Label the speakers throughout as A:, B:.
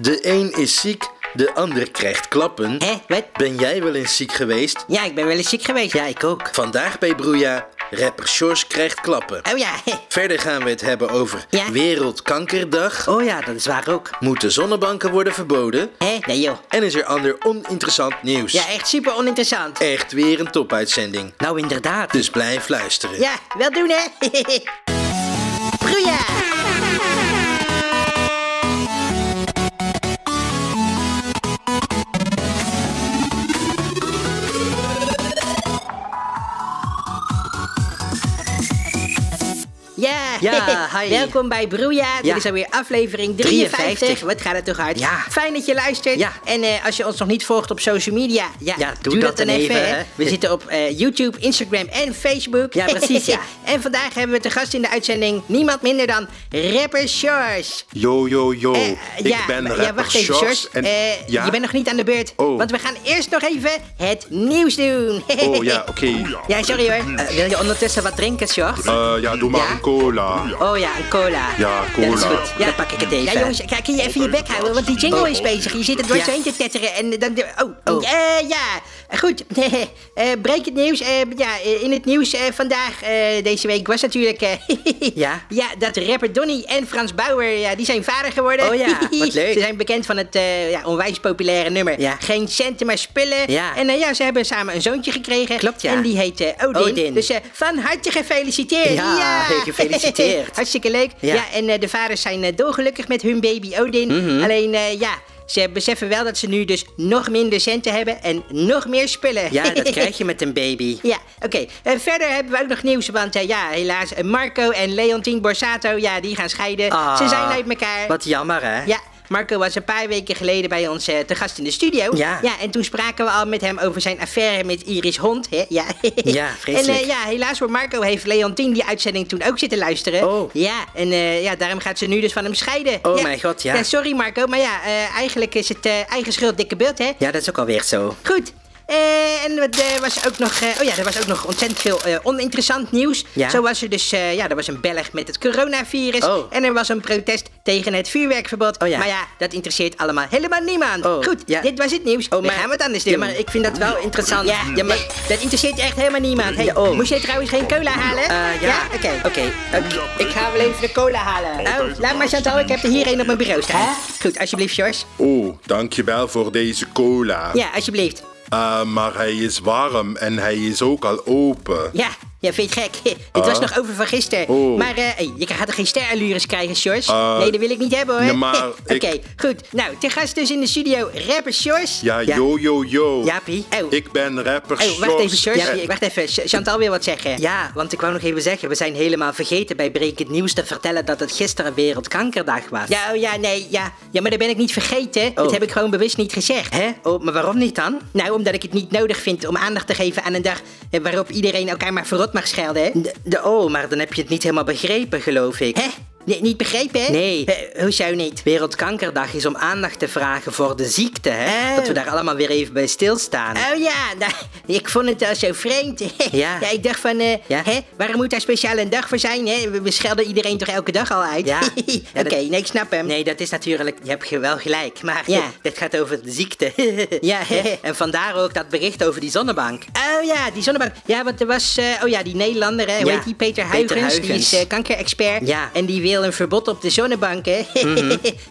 A: De een is ziek, de ander krijgt klappen.
B: Hè, wat?
A: Ben jij wel eens ziek geweest?
B: Ja, ik ben wel eens ziek geweest. Ja, ik ook.
A: Vandaag bij Broeja, rapper Sjors krijgt klappen.
B: Oh ja, hè.
A: Verder gaan we het hebben over
B: Ja.
A: Wereldkankerdag.
B: Oh ja, dat is waar ook.
A: Moeten zonnebanken worden verboden?
B: Hè, nee joh.
A: En is er ander oninteressant nieuws?
B: Ja, echt super oninteressant.
A: Echt weer een topuitzending.
B: Nou, inderdaad.
A: Dus blijf luisteren.
B: Ja, wel doen hè. Broeia. Ja,
C: Ja, hi.
B: welkom bij Broeia. Dit
C: Ja.
B: is alweer aflevering 53.
C: 53.
B: Wat gaat het toch hard?
C: Ja.
B: Fijn dat je luistert.
C: Ja.
B: En eh, als je ons nog niet volgt op social media, ja,
C: Ja, doe dat
B: dan
C: dan
B: even.
C: even,
B: hè.
C: hè.
B: We zitten op eh, YouTube, Instagram en Facebook.
C: Ja, precies, ja.
B: en vandaag hebben we te gast in de uitzending niemand minder dan rapper Shores.
D: Yo, yo, yo.
B: Eh,
D: Oh, ik ben rapper
B: ja, wacht even, Shores.
D: Sjors en-
B: Eh,
D: ja?
B: Je bent nog niet aan de beurt.
D: Oh.
B: Want we gaan eerst nog even het nieuws doen.
D: Oh ja, oké.
B: Ja, sorry hoor.
C: Eh, wil je ondertussen wat drinken, Sjors?
D: Eh, ja, doe maar
B: Ja?
D: een cola.
C: Oh ja, een cola.
D: Ja, cola.
C: dat is goed. Ja, dan pak ik het even.
B: Mm. Ja, jongens, kijk, kun je even je bek houden, want die jingle is bezig. Je zit er door
C: Ja.
B: zo heen te tetteren en dan... Oh,
C: Oh.
B: eh, ja. Goed, Eh, breek het nieuws. Eh, ja, eh, in het nieuws eh, vandaag, eh, deze week, was natuurlijk... eh,
C: Ja?
B: Ja, dat rapper Donny en Frans Bauer, ja, die zijn vader geworden.
C: Oh ja, wat leuk.
B: Ze zijn bekend van het eh, ja, onwijs populaire nummer.
C: Ja.
B: Geen centen, maar spullen.
C: Ja.
B: En eh, ja, ze hebben samen een zoontje gekregen.
C: Klopt, ja.
B: En die heet eh, Odin.
C: Odin.
B: Dus eh, van harte gefeliciteerd.
C: Ja, gefeliciteerd.
B: Hartstikke leuk. Ja,
C: Ja.
B: en eh, de vaders zijn eh, dolgelukkig met hun baby Odin.
C: Mhm.
B: Alleen, eh, ja, ze beseffen wel dat ze nu dus nog minder centen hebben en nog meer spullen.
C: Ja, dat krijg je met een baby.
B: Ja, oké. En verder hebben we ook nog nieuws, want eh, ja, helaas, eh, Marco en Leontien Borsato, ja, die gaan scheiden.
C: Ah,
B: ze zijn uit elkaar.
C: Wat jammer, hè?
B: Ja, Marco was een paar weken geleden bij ons eh, te gast in de studio.
C: Ja.
B: En toen spraken we al met hem over zijn affaire met Iris Hond. Hè? Ja.
C: Ja,
B: En
C: vreselijk.
B: eh, ja, helaas voor Marco heeft Leontien die uitzending toen ook zitten luisteren.
C: Oh.
B: Ja, en eh, ja, daarom gaat ze nu dus van hem scheiden.
C: Oh mijn god, ja.
B: Sorry Marco, maar ja, eh, eigenlijk is het eh, eigen schuld dikke beeld, hè?
C: Ja, dat is ook alweer zo.
B: Goed. Eh, en wat, eh, was ook nog, eh, oh ja, er was ook nog ontzettend veel eh, oninteressant nieuws.
C: Ja.
B: Zo was er dus, eh, ja, er was een Belg met het coronavirus.
C: Oh.
B: En er was een protest tegen het vuurwerkverbod.
C: Oh ja.
B: Maar ja, dat interesseert allemaal helemaal niemand.
C: Oh,
B: Goed,
C: ja.
B: dit was het nieuws.
C: Oh,
B: We
C: maar-
B: gaan we het anders doen.
C: Ja, maar ik vind dat wel interessant.
B: Ja,
C: Ja, maar- oh.
B: nee, dat interesseert echt helemaal niemand. Hey, Moest jij trouwens geen cola halen?
C: Eh, ja.
B: oké.
C: Oké. oké.
B: Ik ga wel even de cola halen. Oh, laat maar Chantal, ik heb er hier één op mijn bureau staan. Goed, alsjeblieft, George.
D: Oh, dankjewel voor deze cola.
B: Ja, alsjeblieft.
D: Eh, maar hij is warm en hij is ook al open.
B: Ja, ja, vind je het gek? Dit was nog over van gisteren.
D: Oh.
B: Maar eh, hey, je gaat toch geen sterallures krijgen, Sjors?
D: Eh,
B: nee, dat wil ik niet hebben hoor.
D: nee, maar
B: Oké,
D: ik-
B: goed. Nou, te gast dus in de studio rapper Sjors.
D: Ja,
C: Ja.
D: yo, yo, yo.
C: Jaapie.
B: Oh,
D: Ik ben rapper
B: oh, wacht even, Sjors.
D: en-
B: wacht even. Ch- Chantal wil wat zeggen.
C: Ja, want ik wou nog even zeggen, we zijn helemaal vergeten bij Breekend Nieuws te vertellen dat het gisteren Wereldkankerdag was.
B: Ja, oh ja, nee, ja. Ja, maar dat ben ik niet vergeten. Dat
C: Oh.
B: heb ik gewoon bewust niet gezegd.
C: Hè? Oh, maar waarom niet dan?
B: Nou, omdat ik het niet nodig vind om aandacht te geven aan een dag eh, waarop iedereen elkaar maar verrot mag schelden, hè?
C: De, de- oh, maar dan heb je het niet helemaal begrepen, geloof ik.
B: Hè? Nee, niet begrepen, hè?
C: Nee.
B: Eh, hoezo niet?
C: Wereldkankerdag is om aandacht te vragen voor de ziekte, hè?
B: Oh.
C: Dat we daar allemaal weer even bij stilstaan.
B: Oh ja, nou, ik vond het al zo vreemd.
C: Ja.
B: ik dacht van, eh,
C: Ja.
B: hè, waarom moet daar speciaal een dag voor zijn? Hè? We we schelden iedereen toch elke dag al uit?
C: Ja. Ja,
B: Oké,
C: dat-
B: nee, ik snap hem.
C: Ehm, Nee, dat is natuurlijk, je hebt ge- wel gelijk, maar
B: Ja.
C: dit gaat over de ziekte.
B: Ja.
C: Hè? En vandaar ook dat bericht over die zonnebank.
B: Oh ja, die zonnebank. Ja, want er was, eh, oh ja, die Nederlander, hè, hoe
C: Ja.
B: heet die? Peter
C: Peter
B: Huygens. Die
C: Huygens.
B: is eh, kankerexpert.
C: Ja. Mhm.
B: En die wil een verbod op de zonnebank, hè.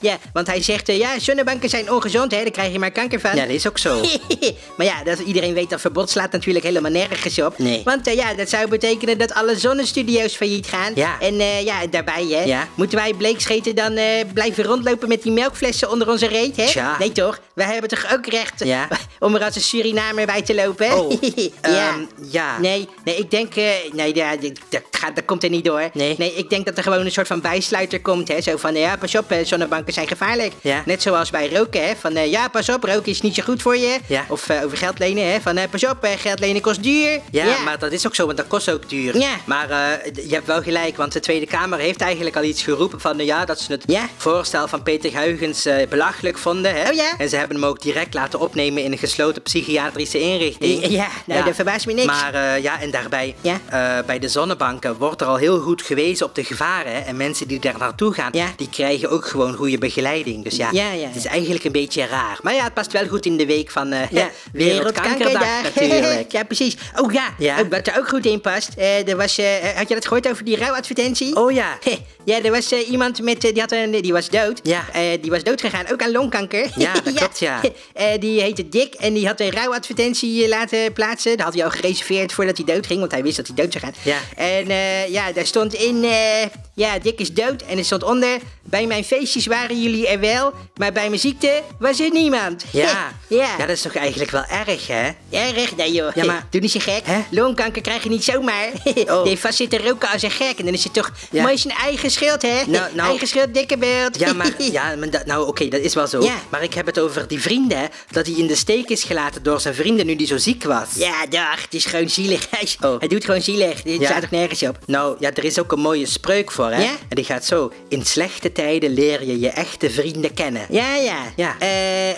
B: ja, want hij zegt, eh, ja, zonnebanken zijn ongezond, hè, daar krijg je maar kanker van.
C: Ja, dat is ook zo.
B: maar ja, dat iedereen weet dat verbod slaat natuurlijk helemaal nergens op.
C: Nee.
B: Want eh, ja, dat zou betekenen dat alle zonnestudio's failliet gaan.
C: Ja.
B: En eh, ja, daarbij hè,
C: Ja.
B: moeten wij bleekscheten dan eh, blijven rondlopen met die melkflessen onder onze reet, hè?
C: Tja.
B: Nee toch? Wij hebben toch ook recht
C: Ja.
B: om er als een Surinamer bij te lopen, hè?
C: Oh,
B: ja.
C: ehm, ja.
B: Nee, nee, ik denk... eh, nee, ja, dit- dat, gaat, dat komt er niet door.
C: Nee.
B: ik denk dat er gewoon een soort van bijsluiter komt, hè? Zo van, ja, pas op, eh, zonnebanken zijn gevaarlijk.
C: Ja.
B: Net zoals bij roken, hè? Van, eh, ja, pas op, roken is niet zo goed voor je.
C: Ja.
B: Of eh, over geld lenen, hè? Van, eh, pas op, eh, geld lenen kost duur.
C: Ja, maar dat is ook zo, want dat kost ook duur.
B: Ja.
C: Maar eh, d- je hebt wel gelijk, want de Tweede Kamer heeft eigenlijk al iets geroepen van... nou ja, dat ze het
B: Ja.
C: voorstel van Peter Huygens eh, belachelijk vonden. Hè?
B: Oh ja.
C: En ze hebben hem ook direct laten opnemen in een gesloten psychiatrische inrichting.
B: Ja, nou, dat verbaast me niks.
C: Maar eh, ja, en daarbij,
B: Ja.
C: eh, bij de zonnebanken wordt er al heel goed gewezen op de gevaren. hè. En mensen mensen die daar naartoe gaan,
B: Ja.
C: die krijgen ook gewoon goede begeleiding. Dus ja,
B: Ja, ja,
C: het is
B: ja.
C: eigenlijk een beetje raar. Maar ja, het past wel goed in de week van eh
B: Ja,
C: Wereldkankerdag natuurlijk.
B: ja, precies. Oh ja,
C: Ja.
B: eh, wat er ook goed in past. eh, er was, eh, had je dat gehoord over die rouwadvertentie?
C: Oh ja.
B: Heh, ja, er was eh, iemand met, eh, die, had een, die was dood.
C: Ja.
B: Eh, die was dood gegaan, ook aan longkanker.
C: Ja, dat klopt, ja.
B: Eh, die heette Dick en die had een rouwadvertentie eh, laten plaatsen. Dat had hij al gereserveerd voordat hij dood ging, want hij wist dat hij dood zou gaan.
C: Ja.
B: En eh, ja, daar stond in, eh, ja, Dick is dood. En er stond onder, bij mijn feestjes waren jullie er wel, maar bij mijn ziekte was er niemand.
C: Ja.
B: Heh, ja.
C: ja, dat is toch eigenlijk wel erg, hè?
B: Erg, nee joh.
C: Ja, maar-
B: Doe niet zo gek.
C: Hè?
B: Longkanker krijg je niet zomaar.
C: Oh.
B: Nee, vast zitten roken als een gek. En dan is het toch
C: Ja.
B: mooi zijn eigen schild, hè?
C: Nou, nou-
B: Eigen schild, dikke beeld.
C: Ja, maar, ja, maar dat, nou oké, dat is wel zo.
B: Ja.
C: Maar ik heb het over die vrienden, hè, dat hij in de steek is gelaten door zijn vrienden nu die zo ziek was.
B: Ja, dag. Het is gewoon zielig. Hij-
C: Oh.
B: Hij doet gewoon zielig. Dit
C: Ja.
B: staat ook nergens op.
C: Nou, ja, er is ook een mooie spreuk voor, hè?
B: Ja?
C: En die gaat zo. In slechte tijden leer je je echte vrienden kennen.
B: Ja, ja.
C: Ja.
B: Eh,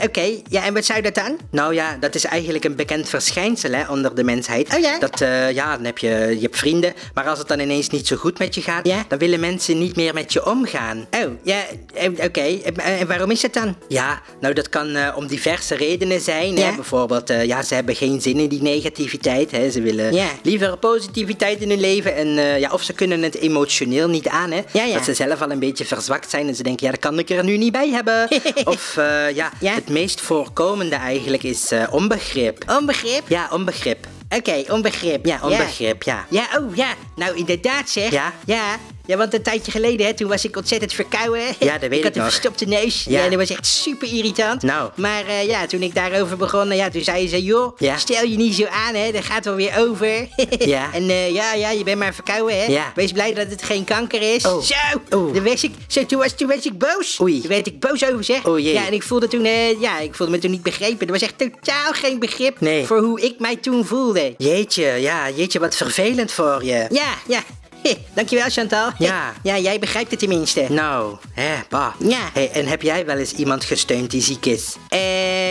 B: Oké. Ja, en wat zou dat dan?
C: Nou ja, dat is eigenlijk een bekend verschijnsel hè, onder de mensheid.
B: Oh ja?
C: Dat, eh, ja, dan heb je, je hebt vrienden, maar als het dan ineens niet zo goed met je gaat,
B: Ja?
C: dan willen mensen niet meer met je omgaan.
B: Oh, ja. eh, Oké. Eh, eh, waarom is dat dan?
C: Ja, nou dat kan eh, om diverse redenen zijn.
B: Ja.
C: Hè? Bijvoorbeeld, eh, ja, ze hebben geen zin in die negativiteit. Hè? Ze willen
B: Ja.
C: liever positiviteit in hun leven. En, eh, ja, of ze kunnen het emotioneel niet aan. Hè?
B: Ja, ja.
C: Dat ze zelf al een beetje verzwakt zijn en ze denken, ja, dat kan ik er nu niet bij hebben. of eh, ja,
B: Ja.
C: het meest voorkomende eigenlijk is eh, onbegrip.
B: Onbegrip?
C: Ja, onbegrip.
B: Oké, onbegrip.
C: Ja, onbegrip, ja.
B: Ja, oh ja. Nou, inderdaad zeg.
C: Ja?
B: Ja. Ja, want een tijdje geleden, hè, toen was ik ontzettend verkouden.
C: Ja, dat weet
B: ik
C: ik
B: had een
C: nog.
B: verstopte neus. Ja.
C: Ja.
B: dat was echt super irritant.
C: Nou.
B: Maar eh, ja, toen ik daarover begon, nou ja, toen zei ze, joh,
C: Ja.
B: stel je niet zo aan, hè. Dat gaat wel weer over.
C: Ja.
B: En eh, ja, ja, je bent maar verkouden, hè.
C: Ja.
B: Wees blij dat het geen kanker is.
C: Oh.
B: Zo.
C: Oeh.
B: Dan was ik, zo, toen, was, toen was ik boos.
C: Oei.
B: Toen werd ik boos over, zeg.
C: Oh, jee.
B: Ja, en ik voelde toen, eh, ja, ik voelde me toen niet begrepen. Er was echt totaal geen begrip
C: Nee.
B: voor hoe ik mij toen voelde.
C: Jeetje, ja, jeetje, wat vervelend voor je.
B: Ja, ja. Hé, dankjewel Chantal. Hé,
C: Ja.
B: Ja, jij begrijpt het tenminste.
C: Nou, hè, bah.
B: Ja.
C: Hey, en heb jij wel eens iemand gesteund die ziek is?
B: Eh,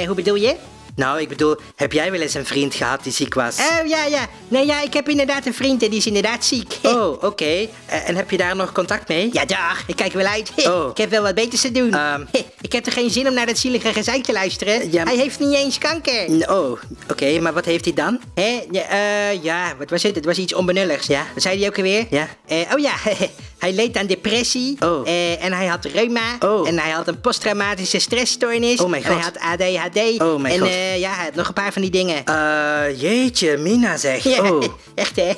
B: hoe bedoel je?
C: Nou, ik bedoel, heb jij wel eens een vriend gehad die ziek was?
B: Oh, ja, ja. Nee, ja, ik heb inderdaad een vriend en die is inderdaad ziek. Hé.
C: Oh, oké. Eh, En heb je daar nog contact mee?
B: Ja, dag. Ik kijk wel uit. Hé,
C: Oh.
B: Ik heb wel wat beters te doen.
C: Ehm.
B: Hé, Ik heb er geen zin om naar dat zielige gezeik te luisteren.
C: Ja, maar-
B: Hij heeft niet eens kanker.
C: N- Oh, oké, maar wat heeft hij dan?
B: Hé, ja, eh, ja, wat was het? Het was iets onbenulligs.
C: Ja.
B: Wat zei hij ook alweer?
C: Ja.
B: Eh, oh ja, hij leed aan depressie.
C: Oh.
B: Eh, en hij had reuma.
C: Oh.
B: En hij had een posttraumatische stressstoornis.
C: Oh mijn
B: En hij
C: God.
B: had ADHD.
C: Oh mijn
B: en,
C: God.
B: eh, ja, hij had nog een paar van die dingen.
C: Eh, jeetje, Mina zeg.
B: Ja,
C: Oh.
B: echt hè?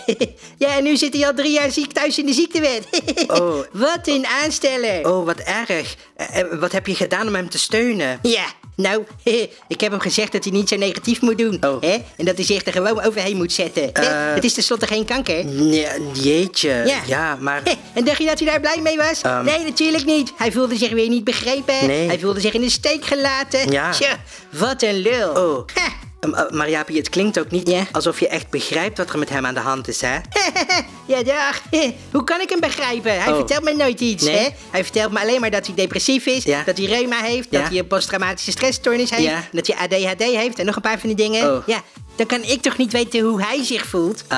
B: Ja, en nu zit hij al drie jaar ziek thuis in de ziektewet.
C: Oh.
B: Wat een aansteller.
C: oh, wat erg. Eh, eh, wat heb je gedaan om hem te steunen?
B: Ja, nou, ik heb hem gezegd dat hij niet zo negatief moet doen.
C: Oh.
B: Hè? En dat hij zich er gewoon overheen moet zetten. Hè?
C: Eh.
B: Het is tenslotte geen kanker.
C: Nee, jeetje.
B: Ja.
C: maar...
B: Hé, en dacht je dat hij daar blij mee was?
C: Ehm.
B: nee, natuurlijk niet. Hij voelde zich weer niet begrepen.
C: Nee.
B: Hij voelde zich in de steek gelaten.
C: Ja.
B: Tja, wat een lul.
C: Oh.
B: Ha.
C: Eh, eh, maar Jaapie, het klinkt ook niet
B: Ja.
C: alsof je echt begrijpt wat er met hem aan de hand is, hè?
B: Ja, dag. Hé, Hoe kan ik hem begrijpen? Hij
C: Oh.
B: vertelt me nooit iets,
C: Nee.
B: hè? Hij vertelt me alleen maar dat hij depressief is,
C: Ja.
B: dat hij reuma heeft,
C: Ja.
B: dat hij een posttraumatische stressstoornis heeft,
C: Ja.
B: dat hij ADHD heeft en nog een paar van die dingen.
C: Oh.
B: Ja, dan kan ik toch niet weten hoe hij zich voelt?
C: Eh,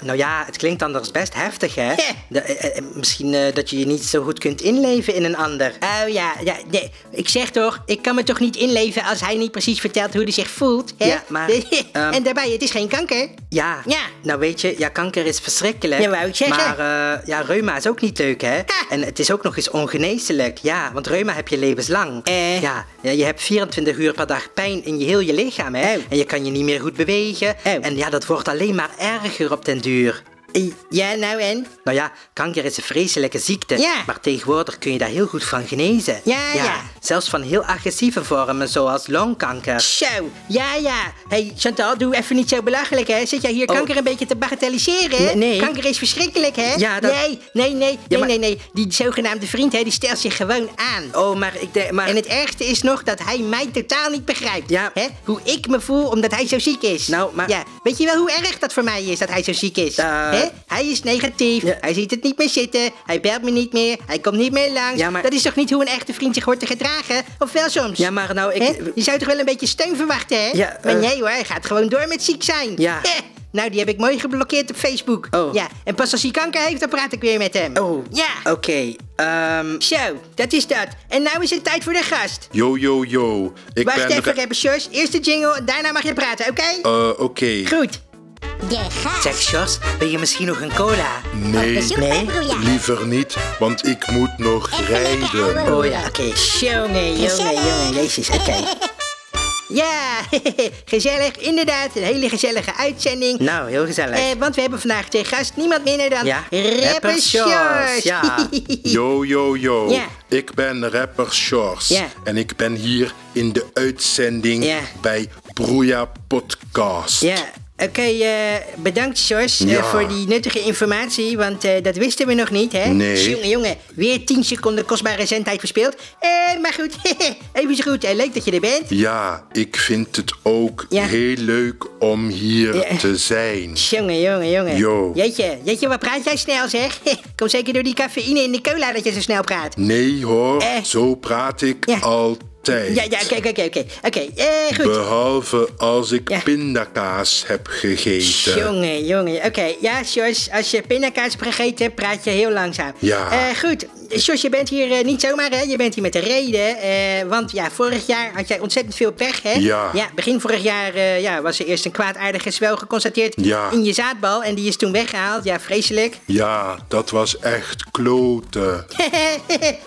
C: nou ja, het klinkt anders best heftig, hè?
B: Ja.
C: De- eh, eh, misschien eh, dat je je niet zo goed kunt inleven in een ander. Eh,
B: Oh ja, ja nee. ik zeg toch, ik kan me toch niet inleven als hij niet precies vertelt hoe hij zich voelt. Hè?
C: Ja, maar, ehm,
B: en daarbij, het is geen kanker.
C: Ja.
B: Ja.
C: Nou weet je, ja, kanker is verschrikkelijk.
B: Ja, wou ik zeggen.
C: Maar eh, ja, reuma is ook niet leuk, hè? En het is ook nog eens ongeneeslijk. Ja, want reuma heb je levenslang.
B: Eh.
C: Ja, ja, je hebt 24 uur per dag pijn in je heel je lichaam, hè?
B: Oh.
C: En je kan je niet meer goed bewegen.
B: Oh.
C: En ja, dat wordt alleen maar erger op den duur.
B: I- Ja, nou en?
C: Nou ja, kanker is een vreselijke ziekte.
B: Ja.
C: Maar tegenwoordig kun je daar heel goed van genezen.
B: Ja, ja.
C: Zelfs van heel agressieve vormen, zoals longkanker.
B: Zo, ja, ja. hey, Chantal, doe even niet zo belachelijk, hè. Zit jij hier
C: Oh.
B: kanker een beetje te bagatelliseren?
C: Nee, nee.
B: Kanker is verschrikkelijk, hè?
C: Ja, dat-
B: Nee, nee, nee, nee,
C: maar-
B: nee, nee. Die zogenaamde vriend, hè, die stelt zich gewoon aan.
C: Oh, maar ik denk... Maar...
B: En het ergste is nog dat hij mij totaal niet begrijpt.
C: Ja.
B: Hè? Hoe ik me voel omdat hij zo ziek is.
C: Nou, maar-
B: Ja. Weet je wel hoe erg dat voor mij is dat hij zo ziek is?
C: Eh.
B: Hè? Hij is negatief.
C: Ja.
B: Hij ziet het niet meer zitten. Hij belt me niet meer. Hij komt niet meer langs.
C: Ja, maar-
B: Dat is toch niet hoe een echte vriend zich hoort te gedragen? Of wel soms?
C: Ja, maar nou, ik...
B: Hè? Je zou toch wel een beetje steun verwachten, hè?
C: Ja,
B: maar
C: eh.
B: nee hoor, hij gaat gewoon door met ziek zijn.
C: Ja.
B: Hè? Nou, die heb ik mooi geblokkeerd op Facebook.
C: Oh.
B: Ja, en pas als hij kanker heeft, dan praat ik weer met hem.
C: Oh,
B: Ja.
C: Oké, ehm,
B: Zo, dat is dat. En nou is het tijd voor de gast.
D: Yo, yo, yo. Ik
B: Wacht
D: ben...
B: even,
D: re-
B: rapper Sjors. Eerst de jingle en daarna mag je praten, oké?
D: Eh, Oké.
B: Goed.
E: De gast.
C: zeg Sjors, wil je misschien nog een cola?
B: Oh,
D: Nee,
E: Bezoek bij Broeja.
D: liever niet, want ik moet nog
E: Even lekker ouwe
D: rijden.
C: Oh
E: hoeren.
C: ja, oké.
B: Jongen, jongen,
E: Gezellig.
B: jongen, jezus, oké. Ja, gezellig, inderdaad. Een hele gezellige uitzending.
C: Nou, heel gezellig.
B: Eh, want we hebben vandaag tegen gast niemand minder dan
C: Ja,
B: rapper
C: rapper Sjors,
B: Sjors.
C: ja.
D: Yo, yo, yo.
B: Ja.
D: Ik ben rapper Shores.
B: Ja.
D: En ik ben hier in de uitzending
B: Ja.
D: bij Broeia Podcast.
B: Ja, oké, eh, bedankt Sjors eh,
D: Ja.
B: voor die nuttige informatie, want eh, dat wisten we nog niet, hè? Dus
D: Nee.
B: Jongen, jongen, weer 10 seconden kostbare zendtijd verspeeld. Eh, maar goed, even zo goed. Eh, leuk dat je er bent.
D: Ja, ik vind het ook
B: Ja.
D: heel leuk om hier
B: Ja.
D: te zijn.
B: Jongen, jongen, jongen.
D: Yo.
B: Jeetje, jeetje, wat praat jij snel zeg? Kom zeker door die cafeïne in de cola dat je zo snel praat.
D: Nee hoor,
B: Eh.
D: zo praat ik
B: Ja.
D: altijd.
B: Ja, ja, oké, oké, oké, oké. Oké, eh, goed.
D: Behalve als ik
B: Ja.
D: pindakaas heb gegeten.
B: Jongen, jongen. Oké, ja, Sjors, als je pindakaas hebt gegeten, praat je heel langzaam.
D: Ja.
B: Eh, goed, Sjors, je bent hier eh, niet zomaar, hè? Je bent hier met de reden. eh, want ja, vorig jaar had jij ontzettend veel pech, hè?
D: Ja.
B: begin vorig jaar eh, ja, was er eerst een kwaadaardige zwel geconstateerd
D: Ja.
B: in je zaadbal. En die is toen weggehaald. Ja, vreselijk.
D: Ja, dat was echt kloten.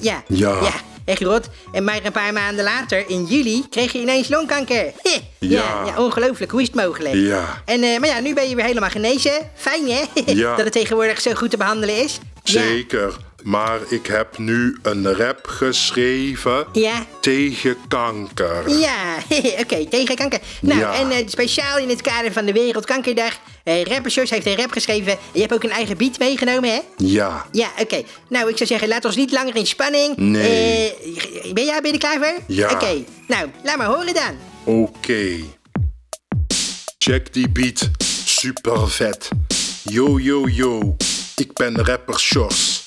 B: ja.
D: Ja.
B: Echt rot. En maar een paar maanden later, in juli, kreeg je ineens longkanker. ja.
D: Ja.
B: ja. ongelooflijk. Hoe is het mogelijk?
D: Ja.
B: En, eh, maar ja, nu ben je weer helemaal genezen. Fijn, hè?
D: Ja.
B: Dat het tegenwoordig zo goed te behandelen is. Ja.
D: Zeker, maar ik heb nu een rap geschreven
B: Ja.
D: tegen kanker.
B: Ja, oké, tegen kanker. Nou,
D: Ja.
B: en eh, speciaal in het kader van de Wereldkankerdag. eh rapper Sjors heeft een rap geschreven. En je hebt ook een eigen beat meegenomen, hè?
D: Ja,
B: Ja, oké. Nou, ik zou zeggen, laat ons niet langer in spanning.
D: Nee.
B: Eh, ben jij binnen klaar voor?
D: Ja.
B: Oké, nou, laat maar horen dan.
D: oké. Check die beat, super vet. Yo, yo, yo, ik ben rapper Shores.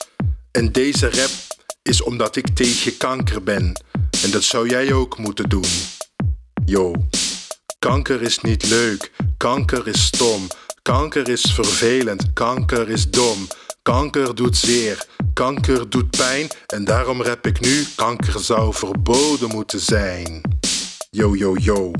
D: En deze rap is omdat ik tegen kanker ben. En dat zou jij ook moeten doen. Yo. Kanker is niet leuk, kanker is stom. Kanker is vervelend, kanker is dom. Kanker doet zeer, kanker doet pijn. En daarom rap ik nu, kanker zou verboden moeten zijn. Yo, yo, yo.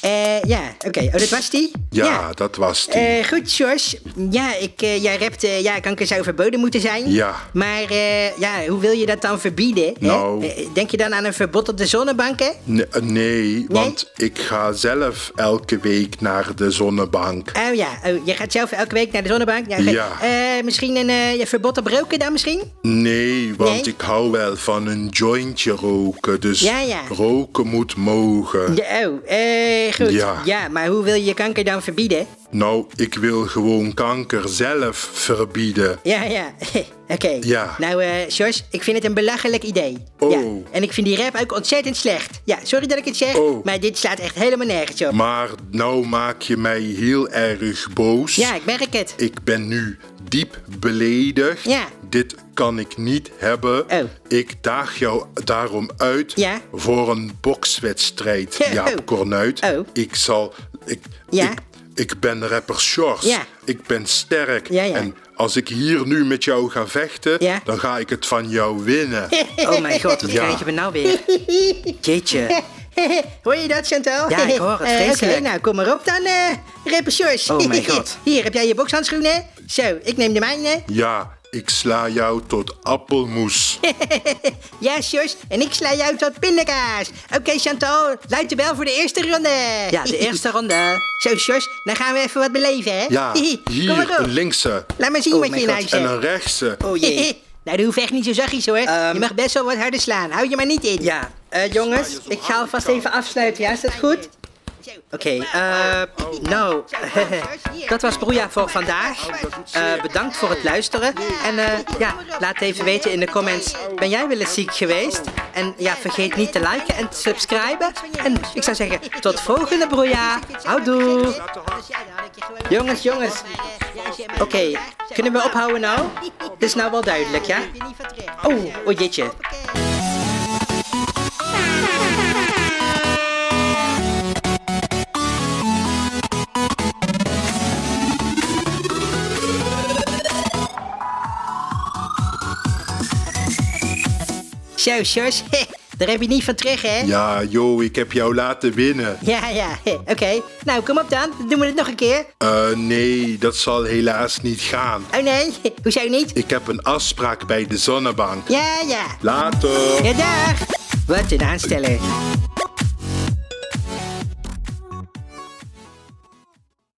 B: Eh, ja, oké. Oh, dat was die?
D: Ja, dat was die.
B: Eh, goed, Sjors. Ja, ik, eh, jij rapt, eh, ja, kanker zou verboden moeten zijn.
D: Ja.
B: Maar eh, ja, hoe wil je dat dan verbieden? hè?
D: Nou.
B: Eh, Denk je dan aan een verbod op de zonnebanken?
D: Nee, eh, nee, want ik ga zelf elke week naar de zonnebank.
B: Oh ja, oh, je gaat zelf elke week naar de zonnebank. Ja. oké.
D: Ja.
B: Eh, misschien een eh, ja, verbod op roken dan misschien?
D: Nee, want
B: Nee?
D: ik hou wel van een jointje roken. Dus
B: Ja, ja.
D: roken moet mogen.
B: Ja, oh, eh, goed.
D: Ja.
B: maar hoe wil je kanker dan verbieden?
D: Nou, ik wil gewoon kanker zelf verbieden.
B: Ja, ja. Oké.
D: Ja.
B: Nou, eh Sjors, ik vind het een belachelijk idee.
D: Oh.
B: Ja. En ik vind die rap ook ontzettend slecht. Ja, sorry dat ik het zeg,
D: Oh.
B: maar dit slaat echt helemaal nergens op.
D: Maar nou maak je mij heel erg boos.
B: Ja, ik merk het.
D: Ik ben nu diep beledigd.
B: Ja.
D: Dit kan ik niet hebben.
B: Oh.
D: Ik daag jou daarom uit
B: Ja.
D: voor een bokswedstrijd,
B: Ja,
D: Jaap
B: oh.
D: Cornuit.
B: Oh.
D: Ik zal... Ik,
B: Ja.
D: ik, ik ben rapper Shores.
B: Ja.
D: Ik ben sterk.
B: Ja, ja.
D: En als ik hier nu met jou ga vechten,
B: Ja.
D: dan ga ik het van jou winnen.
C: Oh mijn god, wat
D: Ja.
C: krijgen we nou weer? Jeetje.
B: hoor je dat, Chantal?
C: Ja, ik hoor het,
B: Eh, Oké,
C: vreselijk.
B: nou, kom maar op dan, eh rapper Sjors.
C: Oh mijn god.
B: Hier, heb jij je bokshandschoenen? Zo, ik neem de mijne.
D: Ja, ik sla jou tot appelmoes.
B: Ja, Sjors, en ik sla jou tot pindakaas. Oké, Chantal, luid de bel voor de eerste ronde.
C: Ja, de eerste ronde.
B: Zo, Sjors, dan gaan we even wat beleven, hè?
D: Ja,
B: Kom maar
D: hier
B: op.
D: een linkse
B: Laat maar zien
C: Oh
B: wat je
C: mijn
B: in
C: God.
B: huis
D: en
B: hebt.
D: een rechtse.
C: Oh jee. Ehm,
B: nou, doe hoeft echt niet zo zachtjes hoor. je mag best wel wat harder slaan. Hou je maar niet in.
C: Ja.
B: Eh, jongens, ik ga alvast even afsluiten. Ja, is dat goed? oh,
C: Oké, eh, nou, dat was Broeja voor vandaag. Eh, bedankt voor het luisteren. En eh, ja, laat even weten in de comments, ben jij wel eens ziek geweest? En ja, vergeet niet te liken en te subscriben. En ik zou zeggen, tot volgende Broeja. Houdoe.
B: Jongens, jongens.
C: Oké, kunnen we ophouden nou? Het is nou wel duidelijk, ja? Oh, oh jeetje.
B: Zo, Sjors, daar heb je niet van terug, hè?
D: Ja, yo, ik heb jou laten winnen.
B: Ja, ja, oké. Nou, kom op dan. Dan doen we het nog een keer.
D: Eh, nee, dat zal helaas niet gaan.
B: Oh nee, hoezo niet?
D: Ik heb een afspraak bij de zonnebank.
B: Ja, ja.
D: Later.
B: Ja, dag. Wat een aansteller.